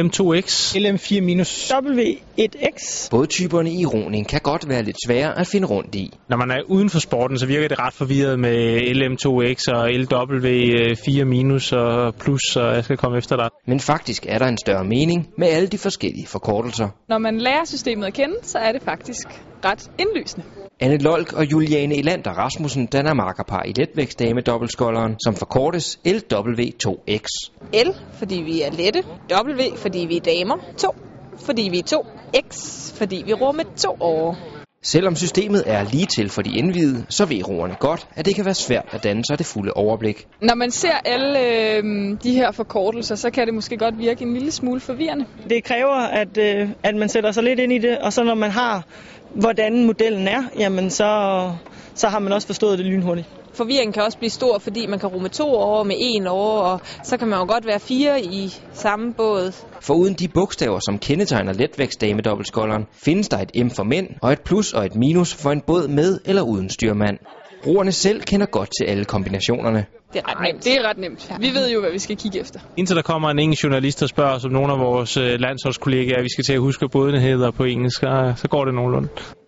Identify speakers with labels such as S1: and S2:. S1: LM2X.
S2: LM4 minus.
S3: W1X.
S4: Bådtyperne i roning kan godt være lidt svære at finde rundt i.
S1: Når man er uden for sporten, så virker det ret forvirret med LM2X og LW4 minus og plus, og jeg skal komme efter dig.
S4: Men faktisk er der en større mening med alle de forskellige forkortelser.
S5: Når man lærer systemet at kende, så er det faktisk ret indlysende.
S4: Anne Lolk og Juliane Elander Rasmussen danner markerpar i letvægtsdame dobbeltskolderen, som forkortes LW2X.
S6: L, fordi vi er lette. W, fordi vi er damer. 2, fordi vi er to. X, fordi vi rummer to år.
S4: Selvom systemet er lige til for de indvidede, så ved roerne godt, at det kan være svært at danne sig det fulde overblik.
S5: Når man ser alle øh, de her forkortelser, så kan det måske godt virke en lille smule forvirrende.
S3: Det kræver, at, øh, at man sætter sig lidt ind i det, og så når man har, hvordan modellen er, jamen så, så har man også forstået det lynhurtigt.
S6: Forvirringen kan også blive stor, fordi man kan rumme to år med en år, og så kan man jo godt være fire i samme båd.
S4: For uden de bogstaver, som kendetegner letvægtsdame dobbeltskolderen, findes der et M for mænd og et plus og et minus for en båd med eller uden styrmand. Roerne selv kender godt til alle kombinationerne.
S6: Det er ret
S5: Nej,
S6: nemt.
S5: det er ret nemt. Vi ved jo, hvad vi skal kigge efter.
S1: Indtil der kommer en engelsk journalist og spørger, som nogle af vores øh, landsholdskollegaer, vi skal til at huske, at bådene hedder på engelsk, så, så går det nogenlunde.